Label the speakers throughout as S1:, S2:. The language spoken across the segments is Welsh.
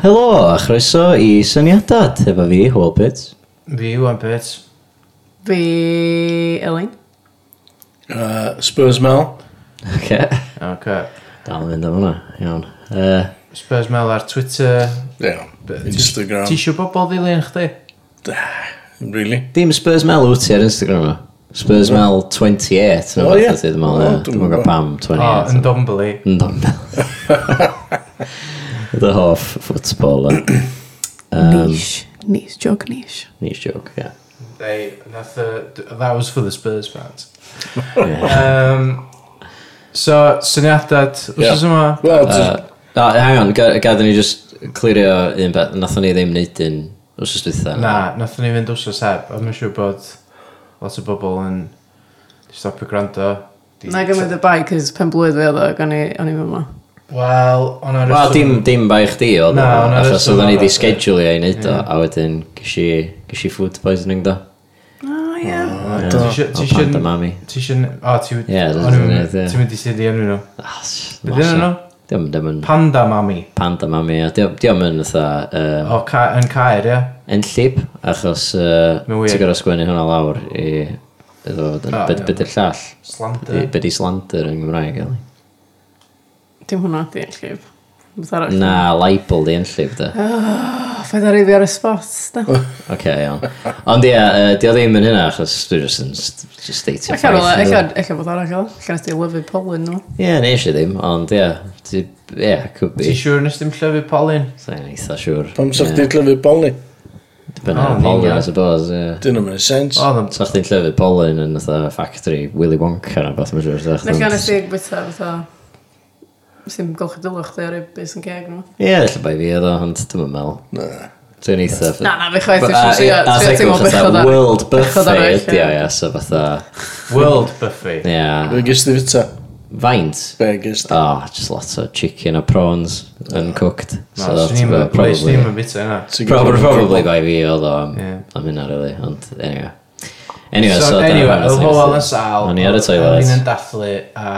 S1: Helo, a chroeso i syniadad efo fi, Hwlbit.
S2: Fi yw'n bit.
S3: Fi... Owen.
S4: Uh, Spurs Mel.
S1: Ok.
S2: Ok.
S1: Dal yn mynd am hwnna, iawn. Uh,
S2: Spurs Mel ar Twitter.
S4: Yeah. Instagram.
S2: Ti eisiau bobl ddilyn chdi?
S4: really?
S1: dim Spurs Mel wyt ti ar Instagram yma. Spurs Mel 28, neu
S4: O, ie.
S1: beth ydy, dwi'n meddwl,
S4: O,
S1: ie.
S4: dwi'm
S1: Dwi'n meddwl
S4: gwbo.
S1: pam
S2: O,
S1: 28.
S2: yn Dombly.
S1: Yn dom. The half footballer.
S3: Nish. Nish. Jog nish.
S1: Nice joke, yeah.
S2: They, nath, uh, that was for the Spurs fans.
S1: yeah.
S2: Um, so, syniadad, wrth yma?
S4: Well,
S1: Uh,
S4: uh,
S1: a, hang on, ga- gadw ni just clirio un beth. Nathon ni ddim neud un os ys dwytha.
S2: Na, nathon ni fynd wrth heb. I'm siŵr bod lot o bobl yn stopio gwrando. Di-
S3: Na gymryd y bai, cys pen blwydd fi oedd o, gan i o'n i fyma.
S2: Wel, o'n ar
S1: Wel, dim, dim bai chdi oedd
S2: Na,
S1: o,
S2: hwnna
S1: achos
S2: rheswm
S1: oedden ni
S2: arall,
S1: wedi
S2: ie.
S1: schedule i neud o, a wedyn gysi, gysi food poisoning do.
S3: O, ie.
S4: do.
S2: Oh, Ti isio...
S1: O
S2: Ti
S1: pan dy
S2: isio...
S1: mami.
S2: Ti isio... O, ti...
S1: Ie,
S2: o'n
S1: dyna
S2: i'm-
S1: dwi'n neud, ie.
S2: Ti'n mynd i sydd i enw nhw. Ah, Be dyn nhw?
S1: Dim ddim yn
S2: Panda Mami.
S1: panda mami, a di- diom yn fatha yym,
S2: O, ca- yn caer, ie?
S1: enllib, achos yy,
S2: Mae'n weird.
S1: ti'n gorau sgwennu hwnna lawr i iddo fod yn
S2: O,
S1: bed-
S2: ie.
S1: bed i'r llall.
S2: Slander.
S1: I- Bed i slander yn Gymraeg, eli.
S3: Dim hwnna di enllif. Beth arall.
S1: Na, libel di enllib, da.
S3: O, ffaid ar i fi ar y spot, da.
S1: Ok, iawn. Ond ie, yy, di o ddim yn hynna, achos dwi jyst yn st- jyst stateio
S3: Ella rola,
S1: ffaith,
S3: ella,
S1: ynde?
S3: ella bod arall oedd. Ella nes di lyfu polyn nhw.
S1: Ie, nes i ddim, ond ie, ti- ie, could be.
S2: Ti siwr nes dim llyfu polyn?
S1: Sa'n eitha siŵr.
S4: pam sa chdi'n clyfu bolni?
S1: Dibynnu
S2: Oh,
S1: ar pollen, I
S2: union.
S1: suppose, ie.
S4: Dyn nhw'n mynd sens.
S2: O, ddim.
S1: Sa chdi'n llyfydd pollen yn fatha factory Willy Wonka na beth mae'n siŵr. sa chdi'n-
S3: Ella nes di bwyta, fatha... Sy'n golchi dylwch chdi ar y bus yn geg nhw.
S1: Ie, lle bai fi oedd o, ond dim yn mel. Dwi'n eitha...
S3: Na, na, fi chwaith.
S1: But,
S3: dwi'n
S1: uh,
S3: siŵr-
S1: ie,
S3: trio-
S1: a
S3: trio
S1: second,
S3: teimlo
S1: fatha
S3: bechod ar-
S1: World
S3: bechod
S1: Buffet
S3: arall,
S1: ydi o,
S3: ie.
S1: ie, so fatha...
S2: World Buffet.
S1: Ie,
S4: Fe gys di fita.
S1: faint.
S4: Fe gys di.
S1: O, Oh, just lots o chicken a prawns uncooked.
S2: Na,
S1: So that's
S2: swn i'n
S1: about
S2: probably... Swn
S1: probably...
S2: i'n bit yna.
S4: Ti'n gwbod-
S1: Probably, probably bai fi oedd o am
S2: Ie.
S1: am hynna, really, ond anyway. Anyway,
S2: So,
S1: so... dyna
S2: anyway,
S1: pan nathon
S2: oedd
S1: ni
S2: Hywel yn
S1: fatha-
S2: sal.
S1: O'n i ar y
S2: O'n i'n
S1: toilet.
S2: dathlu a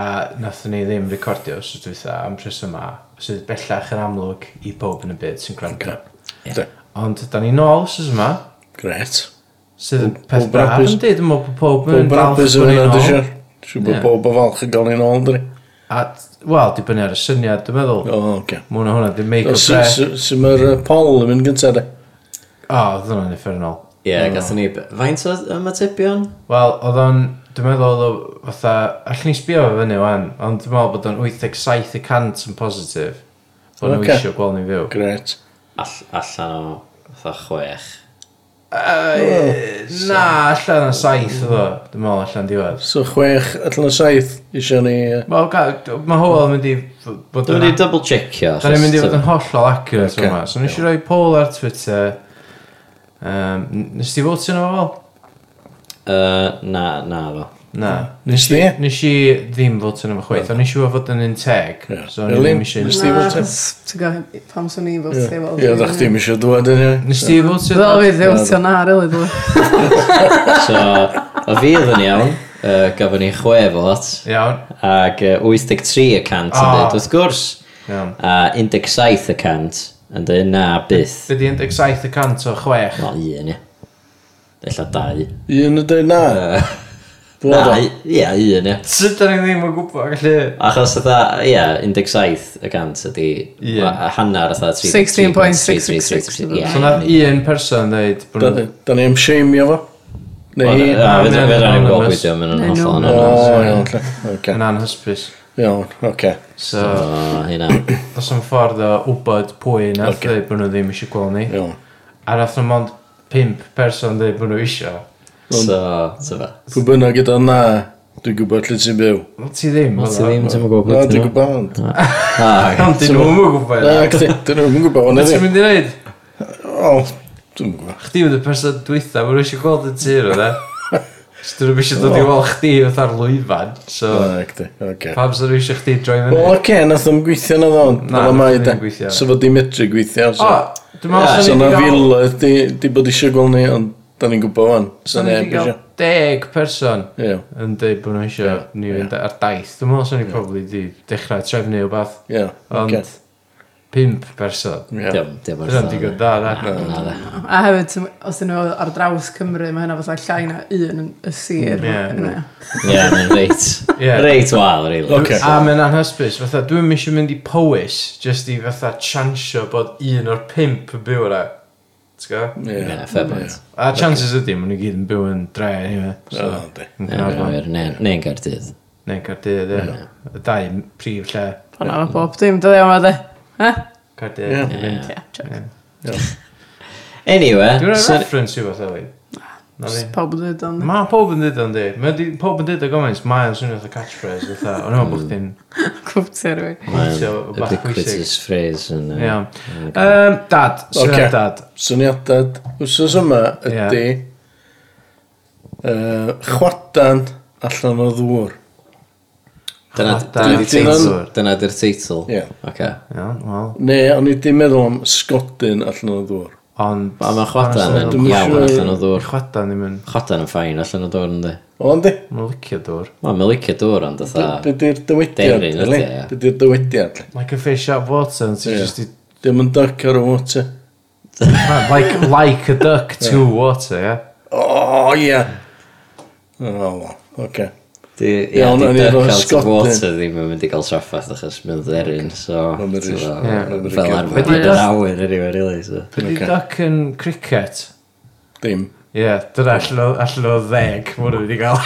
S2: nathon ni ddim recordio os ydw eitha am tris yma. Sydd bellach yn amlwg i bob yn y byd sy'n gwrando.
S4: De.
S2: Ond da ni nôl os yma.
S4: Gret.
S2: Sydd yn
S4: Pob-
S2: peth
S4: pob
S2: braf
S4: hapus.
S2: yn dweud. Dwi'n meddwl bod pob yn
S4: Pob
S2: falch
S4: rapus yn
S2: bod
S4: hynna,
S2: ni'n
S4: dwi'n
S2: ôl.
S4: siwr. Siw bod
S2: Ie.
S4: bob o falch yn gael ni'n ôl, dwi.
S2: A, wel, di bynnu ar y syniad, dwi'n meddwl.
S4: O, oce.
S2: Mwna hwnna, di make
S4: O,
S2: up
S4: sy-
S2: fresh.
S4: sy- Sy'n myr Paul yn mynd gyntaf, de.
S2: O, oedd hwnna'n effernol.
S1: Ie, gathon ni... Faint oedd ymatebion?
S2: Wel, oedd o'n, dwi'n meddwl oedd o fatha, allwn ni sbio fe fyny wan, ond dwi'n meddwl bod o'n 87% yn positif. Bod nhw
S4: Ocê.
S2: eisiau gweld ni fyw.
S4: Gret.
S1: All, allan o fatha chwech.
S2: Na, allan o'n saith oedd o, dwi'n meddwl allan diwedd.
S4: So chwech, allan o saith, eisiau ni... yy,
S2: Wel, ga- mae Howell yn mynd i f- bod
S1: Dwi'n
S2: yn...
S1: mynd i double checkio.
S2: Da ni'n mynd i fod yn hollol accurate
S4: Ocê.
S2: yma. So nes i roi poll ar Twitter. Um, nes ti fod yn o fel?
S1: na, na fo.
S2: Na.
S4: Nes di?
S2: Nes i ddim fod yn efo chweith, ond nes i fod yn un teg.
S4: Ie.
S2: So o'n i
S4: Really?
S2: ddim eisiau...
S4: Nes di
S3: Na,
S4: fod yn-
S3: achos ti'n gwybod pam swn i fod ti
S4: Ie, ddech chi'n eisiau dwad yn hynny.
S2: Nes ti fod yn...
S3: Fel fi ddim ti'n na, rili, dwi.
S1: So, o fi oedd yn iawn, uh, gafon ni chwe fod,
S2: Iawn,
S1: ac uh, 83 y cant yn
S2: O.
S1: dweud, wrth gwrs,
S2: iawn.
S1: a 17 y cant yn dweud na byth.
S2: Be di 17% o chwech?
S1: Wel, un, ie. Ella dau.
S4: Un yn dweud na.
S1: Yy, Na,
S4: Dwad o.
S1: i- ie, un, ie.
S2: Sut da ni ddim yn gwybod gallu...
S1: Achos ytha, ie, 17 y cant ydi
S2: Ie.
S1: a- a hanner ytha
S3: 16.666.
S2: So nad un person dweud bod nhw...
S4: Da- Da ni am sheimio fo. Neu hi.
S1: A
S2: Na,
S1: fe
S2: mae'n
S1: ddyn ni'n gweld
S2: anonymous.
S1: gwydio, mae'n
S3: Neu
S1: hollol
S4: O,
S1: anodd.
S4: iawn, lle. Oce.
S2: yn anhysbys.
S4: Iawn, oce.
S2: So,
S1: O, hynna.
S2: dos am ffordd o wybod pwy na
S4: Ocê.
S2: dweud bod nhw ddim eisiau gweld ni.
S4: Iawn.
S2: A nath nhw mond 5 person dweud bod nhw eisiau.
S1: So, so fe.
S4: Pwy bynnag gyda na, dwi'n gwybod lle ti'n byw.
S2: Wel, ti ddim.
S1: Ti ddim, ti'n gwybod
S4: Na, dwi'n
S1: pwy ti'n gwybod.
S4: gwybod ond.
S1: Ah,
S2: Ond dyn nhw'n gwybod.
S4: Na, chdi, dyn nhw'n gwybod ond
S2: Beth ti'n
S4: ydi.
S2: mynd i wneud?
S4: O, dwi'n gwybod.
S2: Chdi yw'r person dwytha, bod nhw eisiau gweld y tir o da. So dyn nhw eisiau dod i weld chdi fatha'r lwyfan. So,
S4: Oh. Na, chdi, oce.
S2: pam sy'n eisiau chdi droi fyny?
S4: Wel, oce, nath o'n gweithio na ddo, ond.
S2: Na,
S4: Na, mae
S2: nath o'm
S4: da.
S2: gweithio.
S4: So fod i medru gweithio.
S2: O,
S4: So,
S2: dwi'n meddwl
S4: so
S2: swn i
S4: na
S2: wedi gael-
S4: fila, di, di bod eisiau gweld ni, ond da ni'n gwybod ond. So
S2: Swn i
S4: ne,
S2: wedi cael
S4: eisiau.
S2: deg person
S4: Ie,
S2: yn dweud bod nhw eisiau
S4: Ie,
S2: ni
S4: ie.
S2: fynd ar daith. Dwi'n meddwl swn i probably di dechrau trefnu o beth.
S4: ie,
S2: Ond
S4: oce.
S2: pimp berson.
S4: Ie.
S1: Diolch. Diolch.
S2: Dyna'n digon da, na?
S1: Na, na.
S3: A hefyd, ti'n- os dyn nhw ar draws Cymru, mae hynna fatha llai na un yn y sir.
S2: Ie.
S3: yna.
S1: Ie, mae'n reit.
S2: Ie.
S1: Reit wael, rili.
S4: Ocê.
S2: A mae'n anhysbys, fatha, dwi'n eisiau mynd i Powys, jyst i fatha chansio bod un o'r pimp yn byw yna. T'w gwybod?
S4: Ie.
S1: Ie, fair point.
S2: A chances ydy, maen nhw gyd yn byw yn dre, anyway.
S4: O,
S2: So,
S4: yndi.
S2: yn
S1: Ie,
S2: Gaernarfon.
S1: wir, ne- Neu'n Gaerdydd.
S2: Neu'n Cardydd, ie. Y dau prif lle.
S3: Ond o'n bob dim, dod iawn oedd e. Ha?
S2: Cardydd.
S4: Ie.
S2: yn mynd.
S3: Ie, check.
S1: Anyway.
S2: Dwi'n rhoi
S1: so-
S2: reference i fatha, wei. Na fi.
S3: Pawb yn dweud ond.
S2: Mae pob yn dweud o'n di. Mae di- pob yn dweud o gymaint. Mae'n swnio fatha catchphrase. Fatha, o'n i'n meddwl bod chdi'n
S3: Cwbtio rwy'n.
S1: Mae'n
S2: So, bach
S1: ubiquitous phrase yn... yy,
S2: Iawn. Um, dad, sy'n
S4: Ocê.
S2: dad.
S4: Syniadad wsos yma ydy yy, chwadan allan o ddŵr.
S1: Dyna
S2: Dyna
S1: dyna
S4: di'r
S1: di'r teitl.
S2: teitl.
S1: Dyna di'r teitl.
S4: Ie.
S1: Oce.
S2: Iawn, wel.
S4: Ne, o'n i ddim meddwl am sgodyn allan o ddŵr.
S2: Ond...
S1: A mae chwadan yn
S4: Dwi'm yn siŵr.
S1: iawn allan o
S2: Mae'r
S1: ddŵr.
S2: chwadan ddim yn...
S1: Chwadan yn ffain allan o ddŵr yn di.
S4: Ond di,
S2: Mae'n licio dŵr.
S1: Wel, mae'n licio dŵr ond
S4: be
S1: fatha...
S4: di'r dywediad?
S1: Deryn ydi,
S4: Eli?
S1: ie.
S4: Be di'r dywediad? Eli?
S2: Like a fish out of water, and
S4: Ie.
S2: ti'n just... i-
S4: Dim yn duck ar y water.
S2: Man, Like, like a duck to water, ie.
S4: O, ie. O, wel, oce.
S1: Di, ia,
S4: Iawn,
S1: di
S4: o'n i
S1: duck
S4: efo
S1: out of
S4: sgodyn.
S1: water ddim yn mynd i gael traffaith achos mae'n dderyn, so...
S4: Mae'n mynd i-
S1: t'mo,
S4: ie,
S2: mae'n
S4: mynd i
S1: Fel
S4: gael-
S1: arfer,
S2: Wedi
S1: mae'n
S2: duck-
S1: awyr, anyway, really, so...
S2: Ydy
S4: Ocê.
S2: duck yn cricket?
S4: Dim.
S2: Ie, dyna allan o- allan o ddeg, mwyn wedi cael.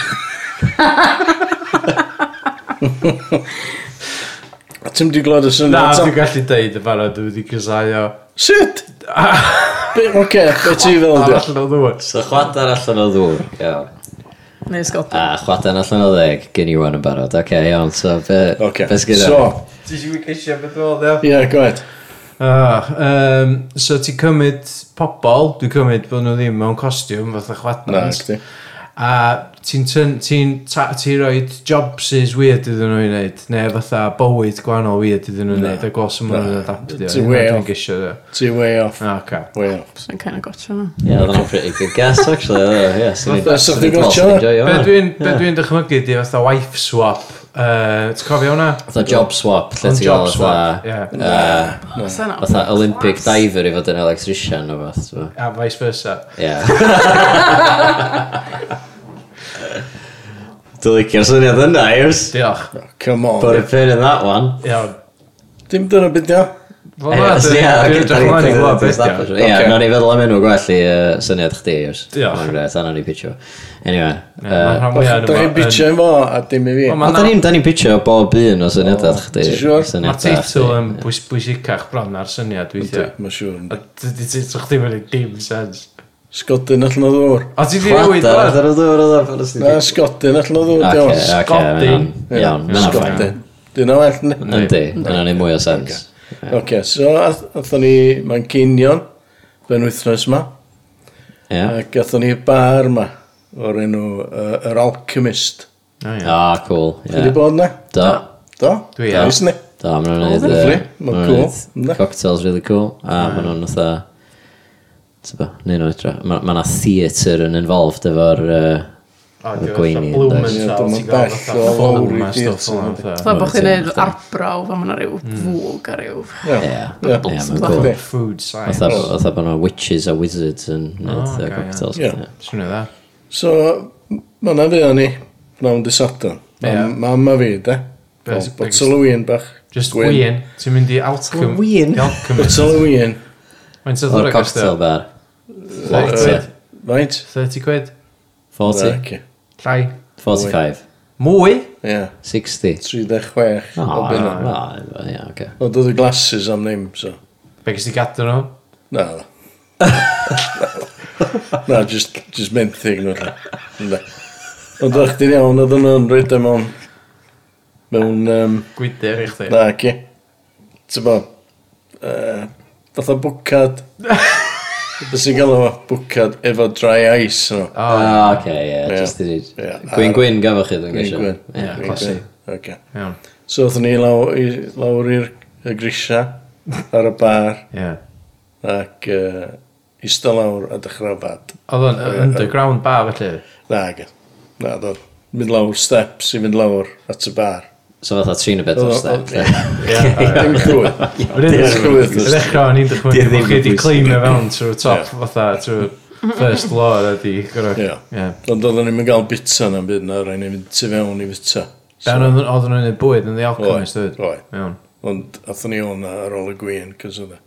S4: A ti'n di glod y
S2: Na,
S4: syniad? ta?
S2: dwi'n gallu deud y barod, dwi wedi cysau o...
S4: Sut? Be- Oce, be ti fel
S2: Ar
S4: di?
S2: allan o ddŵr.
S1: So chwadan allan o ddŵr, iawn.
S3: Neu Scotland.
S1: A chwadan allan o ddeg, gen i wan yn barod. Oce, okay, iawn, so be...
S4: Oce,
S1: Be sgyda?
S4: so,
S2: Ti eisiau cysio beth ôl, ie?
S4: ie, gwaed.
S2: Ah, um, so ti cymryd pobol, dwi'n cymryd bod nhw ddim mewn costiwm fatha
S4: Na,
S2: chwadnans.
S4: gdi.
S2: A ti'n tyn- ti'n ta- ti rhoi jobses weird iddyn nhw i wneud, neu fatha bywyd gwahanol weird iddyn nhw i wneud, a gos yma nhw'n adaptio.
S4: Ti'n
S2: Hynna
S4: way
S2: Dwi'n
S4: off.
S2: gysio, ie.
S4: Ti way off.
S2: Ah, oce.
S4: Way off.
S3: Sy'n kind of gotcha nhw.
S1: Yeah, that was a pretty good guess, actually. though, Yeah, so
S4: Fatha, so chdi gotcha?
S2: Be dwi'n be dwi'n dychmygu di fatha wife swap. Uh, Ti'n cofio hwnna?
S1: Fatha job swap, lle
S2: Ond
S1: ti'n
S2: job
S1: gael
S2: swap,
S1: fatha...
S2: ie.
S1: uh,
S3: Sy'n
S2: Oh,
S3: o.
S1: Fatha Olympic diver i fod yn electrician o fath. so,
S2: A vice versa.
S1: Ie. Dwi'n licio'r syniad yna, Iws.
S2: Diolch.
S4: Come
S1: But
S4: on.
S1: a pin in that one. Eh,
S2: Iawn.
S4: Dim dyna beth iawn.
S2: Wel, na, dwi'n dwi'n edrych ymlaen i glywed beth yw.
S1: Ie,
S4: Ocê.
S1: nawn ni feddwl am enw gwell i yy, syniad chdi, Iws.
S2: Diolch.
S1: Ond reit, anna ni pitio. Anyway.
S2: Mae'r
S1: yy,
S2: rhan fwyaf
S4: Da chi'n
S2: yn- yn-
S4: bitio i fo a dim i fi.
S2: Wel, ma'
S1: Ond da ni'n da ni'n pitio bob un o syniadau chdi.
S4: Ti'n siŵr?
S1: syniadau
S2: Mae teitl
S1: chdi.
S2: yn bwys, bwysicach bron ar syniad weithiau.
S4: Mae'n siŵr.
S2: A
S4: yndi.
S2: dydy teitl chdi mae'n ei dim sens.
S4: Sgodyn allan o ddŵr.
S2: O, ti di newid
S1: Chwada,
S2: o'n?
S1: ar y dŵr o dda,
S4: Na, sgodyn allan o ddŵr.
S1: Oce,
S4: diolch.
S1: oce,
S2: Scotty.
S1: mae'n iawn, mae'n ffain.
S4: Sgodyn. Dyna well ni.
S1: Yndi, yna ni mwy o sens.
S4: Oce, so ath- athon ni Mancinion, ben wythnos ma,
S1: Ie?
S4: ac athon ni bar ma, o'r enw yy, Yr Alchemist.
S1: O, Ah, cool.
S4: Chi di
S1: ie.
S4: bod na?
S1: Do,
S4: Do?
S2: Dwi
S4: Da,
S2: am.
S4: isni.
S1: do, maen nhw'n neud...
S4: Lovely,
S1: yy,
S4: ma'n
S1: maen nhw'n
S4: cool,
S1: neud
S4: yndi?
S1: Cocktails really cool, a maen nhw'n otha... Tyba, neud nhw edrych. Mae yna theatr yn involved efo'r... yy,
S2: O,
S1: y
S2: diolch,
S1: gweini,
S2: Blumenthal,
S4: yndoes? Ie, dwi'n
S2: ti'n gweld
S4: bell
S2: fatha
S4: o
S2: ffôn
S4: lawr i
S2: a
S4: theatr,
S2: stwff fel 'na,
S4: yndi?
S2: fatha.
S3: Fatha bod chi'n
S1: Rwy'n
S3: neud
S1: teimlo.
S3: arbrawf a mae'na rhyw fwg a rhyw...
S1: Ie,
S4: Ie.
S1: ie, maen cool.
S4: Yndi.
S2: Food science.
S1: Otha otha bod nhw'n witches a wizards yn neud
S2: O,
S1: yy,
S2: ocê, ie.
S1: cocktails.
S4: Ie.
S1: ie.
S2: Swnio dda.
S4: So, ma na fi o'n i, brawn dy sadwn.
S2: Ie.
S4: Mam a fi, de.
S2: Be-
S4: Fel Botel o wyn bach.
S2: Just wien. Ti'n mynd i alcym...
S1: Wien?
S2: i Alchemist.
S4: Botel o wyn.
S2: Mae'n sydd o'r
S1: O'r cocktail bar.
S2: agos.
S4: Right?
S2: 30 quid.
S1: 40,
S4: Oce.
S2: Llai.
S1: 45,
S2: Mwy?
S4: Ie.
S1: 60.
S4: 36
S1: O,
S4: o bunna.
S1: o, o, Ah, ie, oce.
S4: Ond oedd y glasses am ddim, so.
S2: Be gys ti gadw nhw?
S4: Na, na. na, just, just menthyg nhw. lle. Ynde. Ond o'ch di'n iawn, oedd nhw'n rhaid am o'n... Mewn... Um,
S2: Gwydyr i chdi.
S4: na, ci. Ti'n bo? Uh, Fath o bwcad. Beth sy'n gael o bwcad efo dry ice, no.
S1: O, oce, ie,
S4: Ie.
S1: Ah, just i ddweud.
S4: Ie.
S1: Gwyn gwyn gafo chi, dwi'n
S4: Gwyn,
S1: gysio.
S4: gwyn.
S1: Ie.
S2: Ie, classy.
S4: Okay.
S2: Iawn.
S4: So, oedd ni law- i- lawr i'r y grisia ar y bar
S2: Ie.
S4: ac uh, ista lawr a dechrau fad.
S2: Oedd o'n underground bar felly.
S4: e. Na, ag- na, do. Mynd lawr steps i fynd lawr at y bar.
S1: So fatha trin y bed
S4: Oh,
S1: o'r step. de.
S4: Dim crwyd.
S2: Wedyn,
S4: Ie,
S2: yn
S4: ie.
S2: ddechrau o'n
S5: Ie,
S2: i'n dychmygu
S5: ddim
S2: bod chi wedi
S5: bwysig.
S2: cleimio fewn trwy top,
S4: Ie.
S2: fatha, trwy first floor a di gorau.
S4: Ie.
S2: Ie.
S4: Ond oedden ni'n gael bitsa na'n byd na, rhaid ni'n mynd tu fewn i bitsa.
S2: Dan oedd- oedden nhw'n ei bwyd yn The Alchemist, dweud.
S4: Oedd.
S2: Iawn.
S4: Ond athyn ni o'n ar ôl y gwyn, cos oedd e.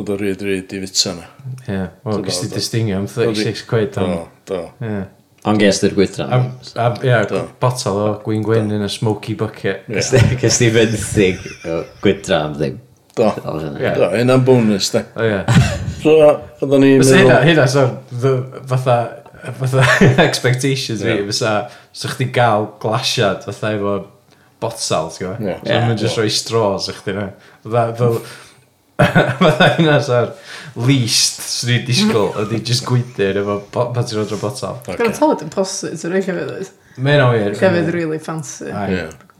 S4: Oedd o ryd ryd i fitsa na.
S2: Ie. Wel,
S4: Dyna
S2: gys ti
S4: oedd o.
S2: distingio am 36 quid
S4: Do,
S2: am...
S4: do.
S2: Ie.
S1: Ond ges di'r gwydran.
S2: Am- am- Ie,
S4: Do.
S2: botel o gwyn gwyn yn y smoky bucket.
S4: Ie.
S1: Cys di fynd thig o gwydra am ddim.
S4: Do.
S1: Ie.
S2: Ie.
S4: Do, hynna'n bonus, de.
S2: O ie.
S4: So, oedden ni'n
S2: Fysa hynna,
S4: meddwl...
S2: hynna, so, the- fatha, fatha expectations fi,
S4: Ie.
S2: fysa, so chdi gael glasiad, fatha efo botsal, ti'n gwybod?
S4: Ie.
S2: So
S1: Ie.
S2: mae'n just rhoi straws i chdi na. Fatha, fel, fatha hynna sa'r least sy'n ei disgwyl, ydi just gwydr efo bo- pan ti'n rodro botsal.
S3: Gwna tolod yn posib, ti'n rhaid llefydd oes.
S2: Mae'n o wir.
S3: Llefydd really fancy.
S2: Ai.
S4: Ie.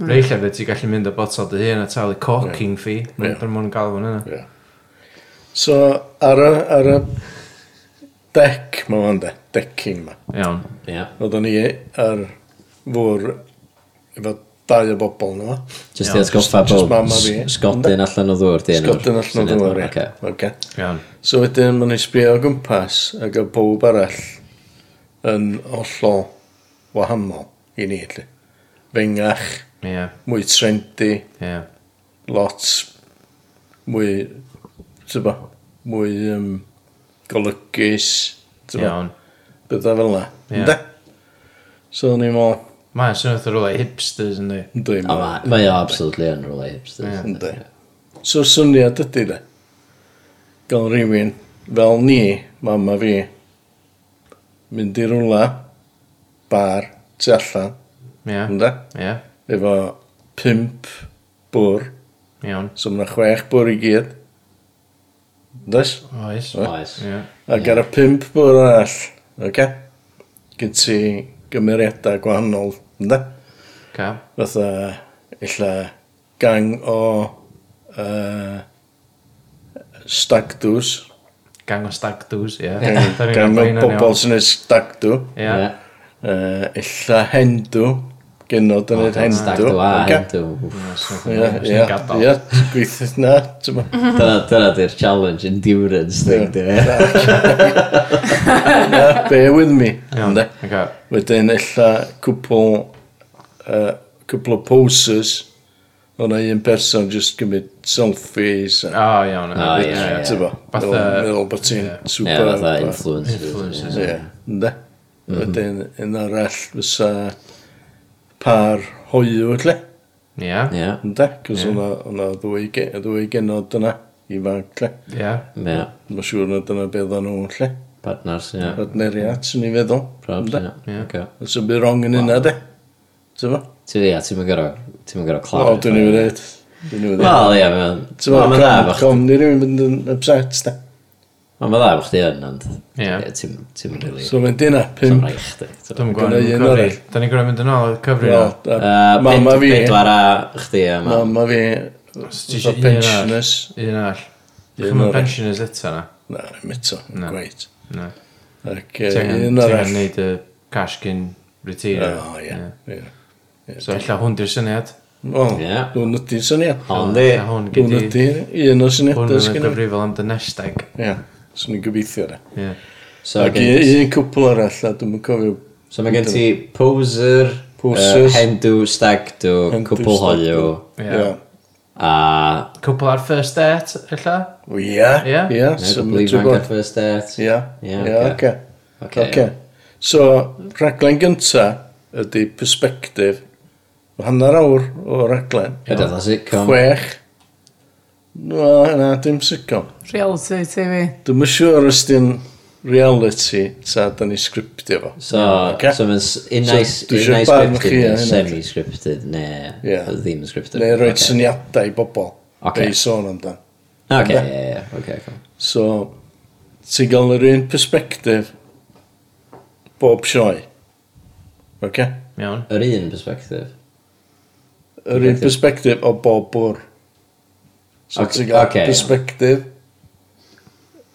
S2: Rhei llefydd ti'n gallu mynd â botsal dy hun a talu corking fee.
S4: Ie.
S2: Mae'n yeah. mwyn gael hwn yna.
S4: Ie. So, ar y, ar y dec ma fan de, decking ma.
S2: Iawn.
S1: Ie.
S4: Oedden ni ar fwr efo dau o bobl nhw.
S1: Just
S2: Iawn,
S1: i atgoffa
S4: just- just
S1: bod
S4: mama fi.
S1: s- sgodyn allan o ddŵr di enw'r
S4: Sgodyn allan o
S1: syniad
S4: ddwyr.
S1: yma, Oce.
S4: Okay.
S2: Iawn.
S4: So wedyn ma'n ei sbio o gwmpas ac o bob arall yn hollol wahanol i ni, lle. Fengach,
S2: Ie.
S4: mwy trendy,
S2: Ie.
S4: lot mwy, ti'n bo, mwy um, golygus, ti'n bo,
S2: Iawn.
S4: bydda fel na.
S2: Ie.
S4: Ynde? So ni'n mo,
S2: Mae'n swnio through like hipsters yn di.
S4: ynddi,
S1: O, ma- Mae o absolutely yn rhywle hipsters.
S2: Ie.
S4: Ynddi. So syniad ydy de. Gael rhywun fel ni, mama fi, mynd i rwla, bar, tu allan,
S2: Ie.
S4: ynddi?
S2: Ie.
S4: Efo pimp bwr,
S2: Iawn.
S4: so mae'na chwech bwr i gyd. Yndoes?
S2: Oes.
S4: Ie.
S1: Oes.
S2: Ie.
S4: Ac ar y pimp bwr arall, oce? Gyd ti gymeriadau gwahanol, ynddi?
S2: Ca.
S4: fatha illa gang o uh, stagdws
S2: Gang o stag doos, ie.
S4: gang,
S2: Da ni'n
S4: gang o
S2: arwain yn
S4: bobl
S2: iawn.
S4: sy'n ei stagdw
S2: Ie.
S1: Ie.
S4: uh, illa hendw genod yn ei
S1: Hen stag
S4: hendw
S1: dwa,
S4: Ocê?
S1: hen dw.
S2: Ie, so-
S4: Ie,
S2: so
S4: ie,
S2: ni'n gadael.
S4: ie, gweithio na, ti'n bo.
S1: Dyna dyna di'r challenge endurance thing,
S4: Ie.
S1: di fe.
S4: Na, bear with me,
S2: Iawn.
S4: ynde.
S2: Oce.
S4: Wedyn illa cwpl, uh, cwpl o poses, o'na un person just gymryd selfies. a-
S2: O, iawn.
S1: O,
S2: Ie.
S1: ie, ie.
S4: Ti'n bo,
S2: Fatha-
S4: meddwl bod ti'n
S2: Ie.
S1: Ie,
S4: super.
S1: fatha
S4: fatha-
S1: influencers.
S2: Influencers,
S1: ie.
S4: Ie, ynde?
S2: Mhm.
S4: Wedyn, yn arall fysa par hoiw lle,
S2: Ie.
S1: Ie.
S4: ynde? Cos yeah. o'na ddwy, ge- y ddwy genod yna, ifanc lle.
S2: Ie.
S1: Ie.
S4: Mae'n siŵr na dyna beth o'n nhw lle.
S1: Partners, ie.
S4: Adneriad, sy'n ni feddwl.
S1: Probs,
S4: ynde?
S1: ie. Oce.
S4: Os yn byd rong yn hynna, de? Ti'n fo?
S1: Ti ie, ti'n mynd gorau, ti'n mynd gorau
S4: O,
S1: clarify.
S4: dwi'n ei wneud. Dwi'n ei wneud.
S1: Wel, ie, mae'n...
S4: Ti'n fo,
S1: Wel, mae'n dda
S4: com-
S1: bo' chdi-
S4: com, ni rywun mynd yn upset, de?
S1: Wel, mae'n dda bo' chdi yn, ond...
S2: Ie.
S1: Ie. Ti'n ti'n mynd rili...
S4: So mae'n dyna,
S1: Ti'n
S4: pimp.
S1: rhaid chdi. ti'n
S2: Dwi'm yn gwbod,
S4: Gynna
S2: dwi'm
S4: un
S2: yn cofio.
S4: arall.
S2: Da ni'n gwrdd mynd yn ôl y cyfri
S4: Wel,
S2: na.
S4: a-
S1: Uh,
S4: Mama fi,
S1: Pedwar a chdi yma.
S4: mama fi,
S2: Os
S4: fatha
S2: ti isio un arall.
S4: pensioners.
S2: Un
S4: Un
S2: all. Chym yn
S4: arall.
S2: pensioners eto na.
S4: Na, ddim eto,
S2: Na.
S4: gweud.
S2: Na.
S4: Ac
S2: Ti
S4: yy,
S2: angen
S4: un
S2: ti angen
S4: arall.
S2: neud y cash cyn retire.
S4: O, ie. ie.
S2: So, illa hwn di'r syniad.
S4: O,
S1: Ie.
S4: hwn ydy'n syniad.
S1: Ond di.
S2: Ella Hwn
S4: Hwn
S2: gyda...
S4: ydy un o
S2: Hwn
S4: syniadau
S2: yn y
S4: sgynnu.
S2: gyfrifol am dy nest egg.
S4: Ie, swn i'n gobeithio da.
S2: Ie.
S1: So,
S4: Ac
S1: gen-
S4: un un cwpl arall, a dwi'n cofio.
S1: so mae gen ti poser,
S4: Posers.
S1: yy, hendw, stagdw,
S4: Hendw,
S1: cwpl hoiw,
S2: Ie.
S4: Ie.
S1: a...
S2: Cwpl ar first date, illa?
S4: O, Ie,
S2: Ie.
S4: ie.
S1: Ie,
S4: so
S1: Cwpl
S4: ma' dwi'n
S1: ifanc at
S4: gwbod.
S1: first date.
S4: Ie,
S1: Ie,
S4: ie,
S1: ocê.
S4: oce.
S1: Oce,
S4: Oce. So, raglen gynta ydy persbectif. Hanner awr o raglen.
S1: Ydy oedd sitcom.
S4: Chwech. No, na, dim sicr.
S3: Reality TV.
S4: Dwi'n siŵr os di'n reality, ta da ni sgriptio fo.
S1: So,
S4: Ocê?
S1: so mae'n s- unai s-
S4: dwi isio
S1: unai
S4: barn chi
S1: scripted,
S4: ar
S1: neu
S4: hynna.
S1: semi-scripted,
S4: Ie.
S1: neu ddim scripted.
S4: Neu roi
S1: Ocê.
S4: syniadau i bobl.
S1: Ocê.
S4: Be i sôn amdan.
S1: Oce,
S4: Ynde?
S1: ie, ie, oce, cool.
S4: So, ti'n gael yr un perspektif bob sioe. Oce?
S2: Iawn.
S1: Yr un perspective.
S4: Yr un perspektif o bob bwr. So,
S1: Ocê,
S4: ti'n gael
S1: ocê.
S4: perspektif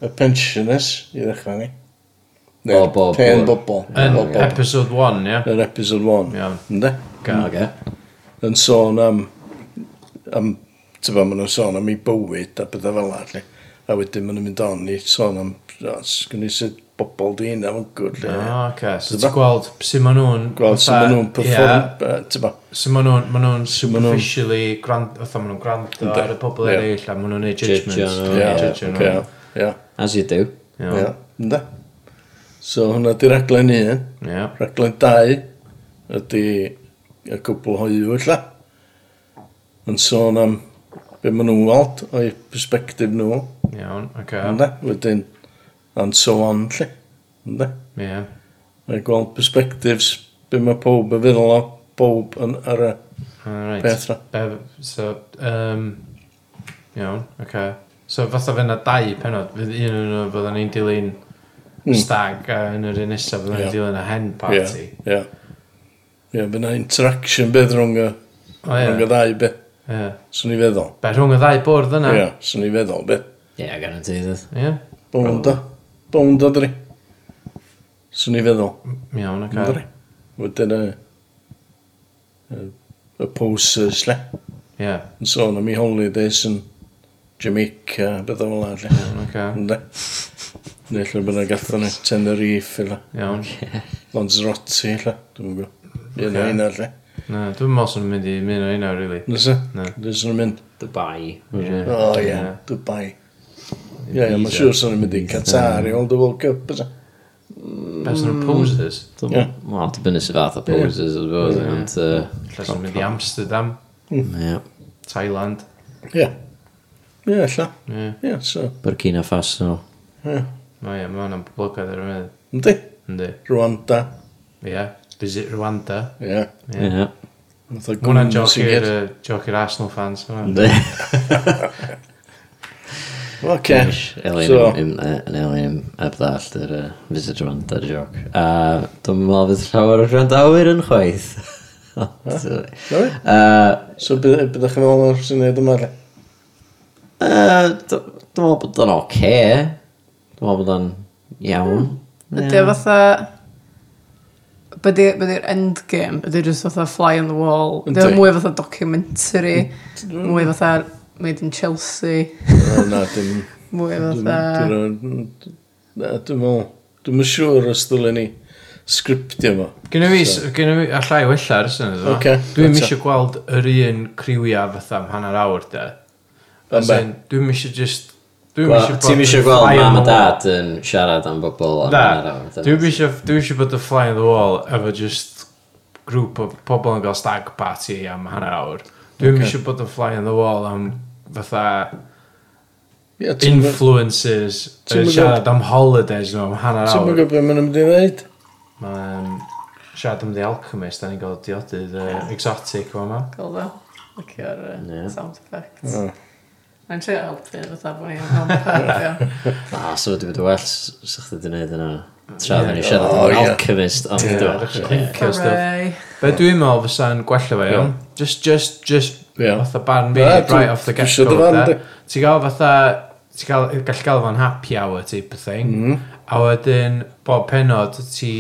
S4: y pensioners, i ddechrau ni.
S1: O bob
S4: Pen
S1: bwr.
S4: bobl.
S2: Yn
S4: O bob-
S2: episode 1, ie?
S4: Yr episode 1.
S2: Iawn.
S4: Ynde?
S2: Ga.
S1: Oce.
S4: yn sôn am, am tyfa, maen nhw'n sôn am ei bywyd a bydda fel allu. A wedyn maen nhw'n mynd on i sôn am, os gwni sut bobl di hynna fo'n gwrdd.
S2: O,
S4: lle."
S2: oce. So
S4: Ti'n
S2: ti'n gweld sy'n ma nhw'n...
S4: Gweld sut
S2: Ah. fatha-
S4: maen nhw'n
S2: Ie,
S4: perform, yy, tyfa.
S2: So maen nhw'n ma nhw'n
S4: So ma' nhw'n-
S2: superficially gwrando, fatha maen nhw'n gwrando
S4: Yndi.
S2: ar y pobl
S4: Ie.
S2: eraill a maen nhw'n neud judgments.
S1: Judgio nhw,
S2: Ie,
S1: ie,
S2: judgio nhw.
S4: Ie, ie,
S1: As you do.
S2: Iawn.
S4: ie, ynde. So hwnna di raglen un.
S2: Ie.
S4: Raglen 2 ydy y cwbl hoiw illa. Yn sôn am be maen nhw'n weld o'i perspektif nhw.
S2: Iawn, oce.
S4: Ynde? Wedyn, and so on, lle. Ynde?
S2: Ie.
S4: Mae'n gweld perspectives be mae pob yn feddwl o pob yn ar y
S2: Alright.
S4: peth na.
S2: Be- So, um, iawn, oce. Okay. So fatha fe na dau penod, fydd un o'n nhw fydda ni'n dilyn
S4: Mm.
S2: stag a yn yr un nesaf fydda ni'n
S4: Ie.
S2: dilyn y hen
S4: Ie,
S2: party.
S4: ie. Ie, fe na interaction beth rhwng y
S2: O ie,
S4: rhwng y ddau be.
S2: ie.
S4: Swn i feddwl.
S2: Be rhwng y ddau bwrdd yna?
S4: Ie, swn i feddwl be.
S1: Yeah, I guarantee that.
S2: Ie.
S4: Bwnda. Bwnda dri. Swn i feddwl.
S2: Iawn, oce.
S4: Dri. Wedyn y... y- Y posters, le.
S2: Ie,
S4: Yn sôn am i holidays yn Jamaica, beth o'n fel arall.
S2: iawn, oce.
S4: Ynde? Neu lle bydd yn gatho ni Tenerife, illa.
S2: Iawn.
S4: Lanzarote, illa. Dwi'n gwybod. Un o
S2: Ocê.
S4: un ar, lle.
S2: Na, dwi'n meddwl sy'n mynd i mynd o un o'r rili.
S4: Nes e?
S2: Na.
S4: Nes yn mynd.
S1: Dubai.
S2: Ie.
S4: O, ie.
S2: Ie.
S4: Dubai. Ie, ie, mae'n
S1: Ibiza.
S4: siŵr sy'n mynd i Qatar i hold the World Cup, ysaf.
S2: Beth sy'n
S1: Mm.
S2: poses?
S1: Dwi'n
S4: Ie.
S1: Wel, dwi'n bynnu sy'n fath o poses, I suppose, ond... uh,
S2: Lle sy'n mynd i Amsterdam,
S1: Ie.
S2: Thailand.
S4: Ie. Ie, lla.
S2: Ie.
S4: Ie, so.
S1: Burkina Faso.
S4: Ie.
S2: O ie, mae hwnna'n boblogaidd ar y mynd.
S4: Yndi?
S2: Yndi.
S4: Rwanda.
S2: Ie. Visit Rwanda.
S4: Ie.
S2: Ie.
S1: Ie.
S4: Mae
S1: Mm,
S2: Mwna'n joc i'r yy, joc i'r Arsenal fans. hwnna.
S1: Ynddi.
S4: Oce.
S1: Elin
S4: So.
S1: yn Elin ebdallt yr yy, visit around that joc. A dwi'n meddwl fydd llawer o rhandawyr yn chwaith. Ond,
S4: Na fi?
S1: yy,
S4: So, bydd- byddwch chi'n meddwl o'r syniad yma, lle?
S1: Yy, d- Dwi'n meddwl bod o'n oce. Dwi'n meddwl bod o'n iawn.
S3: Ydy o fatha... Bydy'r bydy endgame, ydy just fatha fly on the wall. Ydy o
S4: Yndi.
S3: mwy fatha documentary, mwy fatha made in Chelsea,
S4: O, Na, dim...
S3: mwy
S4: Dwi'n-
S3: fatha...
S4: dwi'n- Na, dwi'n meddwl... Dwi'n yn siŵr os ddylen ni sgriptio fo.
S2: Gynna fi, s- gynna fi, allai wella ar ysyn ydw.
S4: Ocê,
S2: Dwi'n
S4: eto.
S2: eisiau gweld yr un criwia fatha am hanner awr de. As
S4: Ymbe.
S2: in, Dwi'n eisiau just... Dwi'n
S1: Wel,
S2: eisiau
S1: Ti'n eisiau gweld mam a dad yn siarad am bobl am hanner
S2: Da,
S1: awr.
S2: dwi'n
S1: dyna.
S2: eisiau dwi eisiau bod y fly on the wall efo just grŵp o pobl yn cael stag party am hanner awr. Dwi'n eisiau bod y fly on the wall am fatha
S4: Ie, ti'n gwybod-
S2: influences
S4: Ti'm
S2: yn
S4: yn
S2: siarad am holidays nhw am hanner
S4: ti'm yn
S2: awr.
S4: gwybod beth maen nhw'n mynd i wneud?
S2: Mae'n siarad am The Alchemist, da ni'n gael diodydd uh, exotic o'n yma.
S3: Gweld o? Licio'r yy,
S1: Ie.
S3: sound effects. Mae'n trio helpu fatha bod ni'n helpu.
S1: A, so wedi bod yn well sa'ch chi wedi gwneud yna. Tra ddyn ni siarad
S4: O,
S1: am e
S4: ie.
S1: alchemist. ond dwi'n-
S2: Cio'r stuff.
S3: Hooray!
S2: Be dwi'n meddwl fysa'n gwella fe, iawn? Just, just, just,
S4: Ie.
S2: fatha barn fi,
S4: Na,
S2: right
S4: dwi-
S2: off the
S4: dwi isio
S2: get-go.
S4: dy farn
S2: de.
S4: di.
S2: Ti'n gael fatha, ti'n gael, gallu gael fo'n happy hour type of thing.
S4: Mm-hmm.
S2: A wedyn, bob penod, ti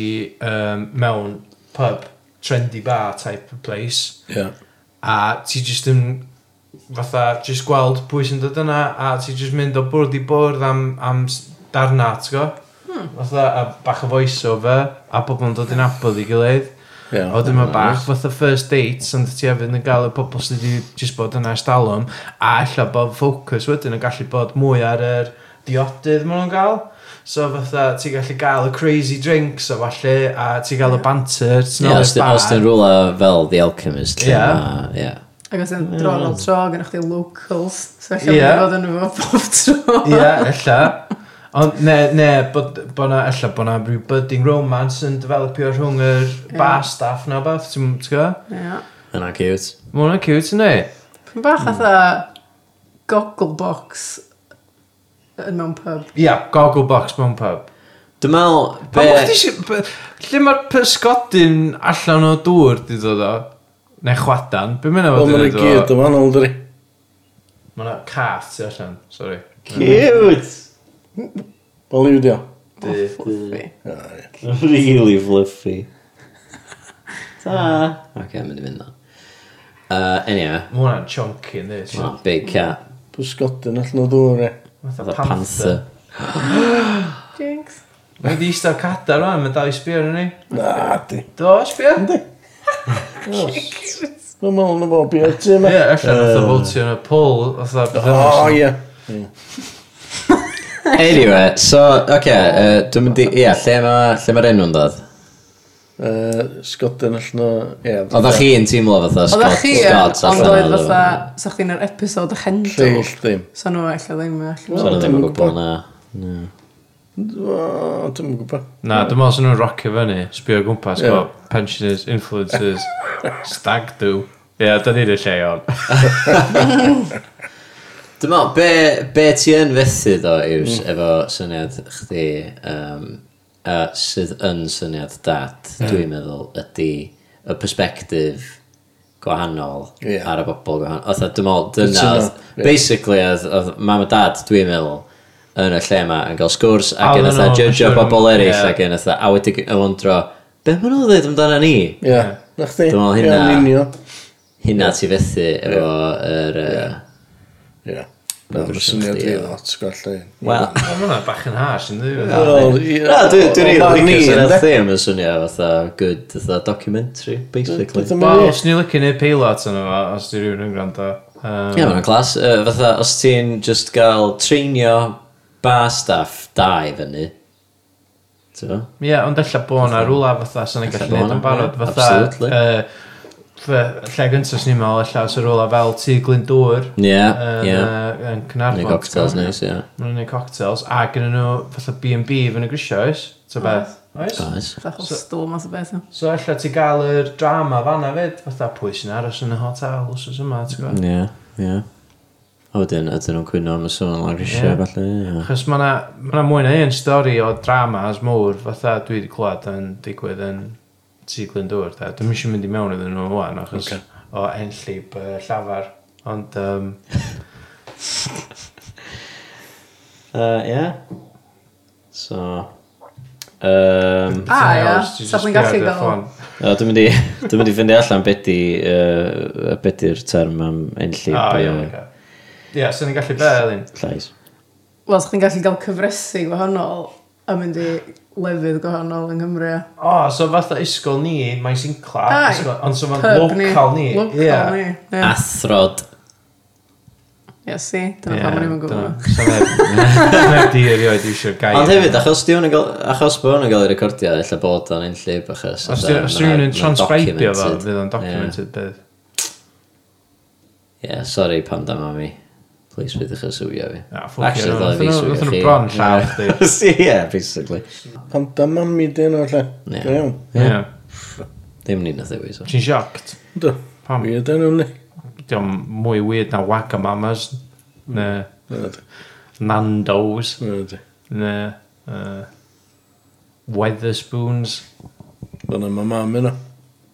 S2: um, mewn pub, trendy bar type of place.
S4: Ie.
S2: a ti jyst yn fatha, jyst gweld pwy sy'n dod yna a ti jyst mynd o bwrdd i bwrdd am, am s- darna, ti'n go? Hmm. Fatha, a bach o voice over a bobl yn dod yn abod i gilydd
S4: Ie.
S2: a wedyn mae bach fatha first dates ond ti hefyd yn gael y pobl sydd wedi jyst bod yna ers dalwm a ella bod ffocws wedyn yn gallu bod mwy ar yr diodydd maen nhw'n gael so fatha ti'n gallu gael y crazy drinks a falle a ti'n gael y banter ti'n
S1: Ie,
S2: gael
S1: os
S2: y
S1: di- Os
S2: bar
S1: dyn rwla fel The Alchemist. lle
S2: Ie.
S1: ma- Ie.
S3: Ac os yn dro fel tro, gynnwch chi locals, so allai
S2: Ie.
S3: yeah. fod yn efo pob tro.
S2: Ie, ella. Ond ne, ne, bod, bod na, ella bod na rhyw budding romance yn developio rhwng yr
S3: Ie.
S2: bar staff na beth, ti'n ti'n gwybod?
S3: Ie.
S1: Yna cute.
S2: Mae hwnna'n cute yn ei.
S3: Pyn bach atha goggle box yn mewn pub.
S2: Ia, goggle box mewn pub.
S1: Dwi'n meddwl...
S2: Be...
S1: be-
S2: Lle mae'r pysgodyn allan o dŵr di dod o? Neu chwadan? Be mynd o
S4: Wel, maen nhw gyd yn wahanol, dri.
S2: Mae yna cath ti allan, sori.
S1: Cute!
S4: Bollywood, ie.
S3: Oh, fluffy.
S1: Really fluffy. Ta. Oce, mynd i fynd na. Uh, anyway,
S2: Mae hwnna'n chunky yn dweud.
S1: oh, big cat.
S4: Bwsgodyn allan o ddŵr e.
S1: Fatha panther.
S3: Jinx.
S2: Mae wedi eistedd cadar rwan, mae dal i sbio arno ni.
S4: Na, di.
S2: Do, sbio? Ie,
S4: Mae'n mynd yn bob i'r tu yma.
S2: allan oedd o fwltio yn y pôl, oedd o...
S4: O, ie.
S1: Anyway, so, oce, okay, uh, dwi'n mynd i... Ie, lle mae'r lle ma enw'n dod?
S4: Yy, Sgodyn allan o... Ie.
S1: Oedd chi'n teimlo fatha Scott?
S3: Oedda chi yn,
S1: Scots
S3: ond
S1: allan
S3: oedd
S1: yna,
S3: fatha, sa chdi'n yr episod y chendol.
S4: Lleill ddim.
S3: So nhw eich ddim yn
S1: So
S3: allan.
S1: nhw ddim yn gwybod na.
S4: O, Dwi'm yn gwybod.
S2: Na, dwi'n meddwl sy'n nhw'n rocio fyny, sbio o gwmpas,
S4: Ie.
S2: yeah. pensioners, influencers, stag do. Ie, da ni'n y lle iawn.
S1: Dwi'n meddwl, be, be ti yn fethu ddo, Iws, efo syniad chdi, um, a sydd yn syniad dat, dwi'n meddwl, ydy y perspektif gwahanol
S4: Ie.
S1: ar y bobl gwahanol. Oedd dwi'n meddwl, dyna,
S4: Cytuno,
S1: oedd-
S4: ie.
S1: basically, oedd- oedd mam a dad, dwi'n meddwl, yn y lle yma, yn cael sgwrs, ac yn
S2: Oedden
S1: ytho
S2: nhw,
S1: judgeio
S2: siŵr-
S1: bobl eraill,
S2: ie.
S1: ac yn ytho, a wedi yn wondro, be maen nhw'n dweud amdano ni?
S4: Ie. Na chdi?
S1: Dwi'n meddwl
S4: Ie,
S1: hynna-
S4: yn union.
S1: Hynna ti fethu efo yr... yy,
S4: Ie. Na,
S1: Dwi'n
S4: mae'n syniad
S1: chdi,
S4: i
S1: ie.
S4: lot gwella.
S1: Wel,
S2: Mae hwnna bach yn hash, yn dwi?
S4: Wel,
S1: Na, dwi- dwi'n ei ddweud sy'n y theme yn swnio fatha good fatha documentary, basically. Ie,
S2: Wel, os ni'n licio neud peilot yn efo, os di rhywun yn gwrando. Yym,
S1: mae'n clas. Yy, Fatha, os ti'n just gael treinio bar staff da i fyny, ti'n fo?
S2: Ie, ond ella bod na rwla fatha sy'n ei
S1: Ella bo'
S2: gallu gwneud yn
S1: na,
S2: barod
S1: ie,
S2: fatha
S1: absolutely.
S2: yy, fy- lle gyntaf sy'n ni'n meddwl ella os y rwla fel tŷ Glyndŵr
S1: Ie,
S2: yn,
S1: ie.
S2: yy, yn Cynarfon.
S1: Neu cocktails neis, ie.
S2: Mae'n gwneud cocktails a gyda nhw fatha B&B fy'n y grisio oes? Ta beth? Oes?
S1: Oes.
S3: Fatha storm os y beth.
S2: So ella ti gael yr drama fanna fyd, fatha pwy sy'n aros yn y hotel os oes yma, ti'n gwybod?
S1: Ie, ie. A wedyn, ydyn nhw'n cwyno am y sôn lawr
S2: Ie.
S1: eisiau, falle, ie.
S2: Chos mae yna ma mwy na un stori o dramas mowr fatha dwi wedi clywed yn digwydd yn Tŷ Glyndŵr. da. Dwi'm eisiau mynd i mewn iddyn nhw ymlaen achos
S4: Ocê.
S2: o enllib uh, llafar. Ond um,
S1: Yy, Ie. So... Um,
S2: Ah,
S3: A, ia. Sa chdi'n gallu gael...
S1: O, dwi'n mynd i, dwi'n mynd i fynd allan beth i, uh, beth i'r term am enlli
S2: O, Ah, ie. Ie, sy'n ni'n gallu be, Elin?
S1: llais.
S3: Wel, sa chdi'n gallu gael cyfresu gwahanol a mynd i lefydd gwahanol yng Nghymru. ia.
S2: O, so fatha isgol ni, mae'n Sinclair,
S3: Ai.
S2: isgol- ond so mae'n
S3: Pub
S2: local Ah, ni.
S3: Local ni. ie.
S1: Athrod.
S3: Ie, si. Dyna pam o'n i'n gwybod.
S2: Neb di erioed eisiau'r gair.
S1: Ond hefyd, achos di hwn yn gael, achos bod hwn yn gael ei recordio, illa bod o'n enllib, achos...
S2: Os
S1: fatha, ma'
S2: di- os
S1: 'na-
S2: di rhywun yn
S1: ma'n
S2: transcribio fo,
S1: documented.
S2: fydd o'n documented beth.
S1: Ie, Ie, sori pam da mami. Please, fydd eich swio fi.
S2: Na, ffwc
S1: Actually,
S2: ie,
S1: ddyla fi
S2: nathon nhw-
S1: swio
S2: nathon nhw
S1: chi.
S2: bron lladd chdi.
S1: Ie, yeah, basically.
S4: Panda mami dyn o'r lle.
S1: Ie.
S4: Da iawn.
S2: Ie.
S1: Ddim ni na ddewis. o.
S2: Ti'n shocked?
S4: Do.
S2: Pam?
S4: Mi ydyn nhw'n ni.
S2: Diolch mwy weird na Wagamamas, neu
S4: Na, di.
S2: Nando's,
S4: Na, di.
S2: neu uh, Weatherspoons.
S4: Dyna mae mam yna.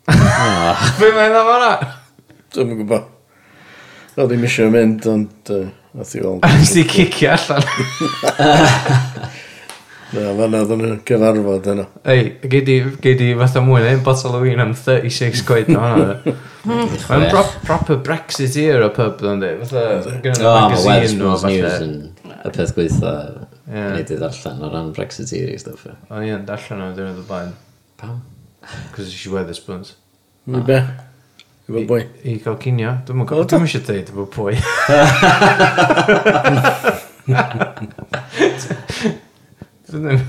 S2: Be mae'n dda fanna?
S4: Dwi'n yn gwybod. Oedd i'n eisiau mynd, ond... yy, Nath i weld.
S2: Nes di cicio allan.
S4: Na, fanna oedd yn gyfarfod yna.
S2: Ei, gei di, gei di fatha mwy na un botol o win am 36 quid na hwnna. Mae'n pro proper Brexiteer o pub, dwi'n di. Fatha, gyda
S1: O,
S2: nhw
S1: mae Wales
S2: magazine o
S1: Oh, News
S2: fatha.
S1: yn y peth gweitha
S2: Ie.
S1: ni di ddarllen o ran Brexiteer i stuff. ie.
S2: O'n i'n darllen o'n dwi'n y blaen,
S1: Pam?
S2: cos eisiau Weatherspoons.
S1: Ah.
S4: Mi be? Efo boi.
S2: I gael cinio, dwi'n gwybod, dwi'n eisiau dweud efo pwy. Dwi'n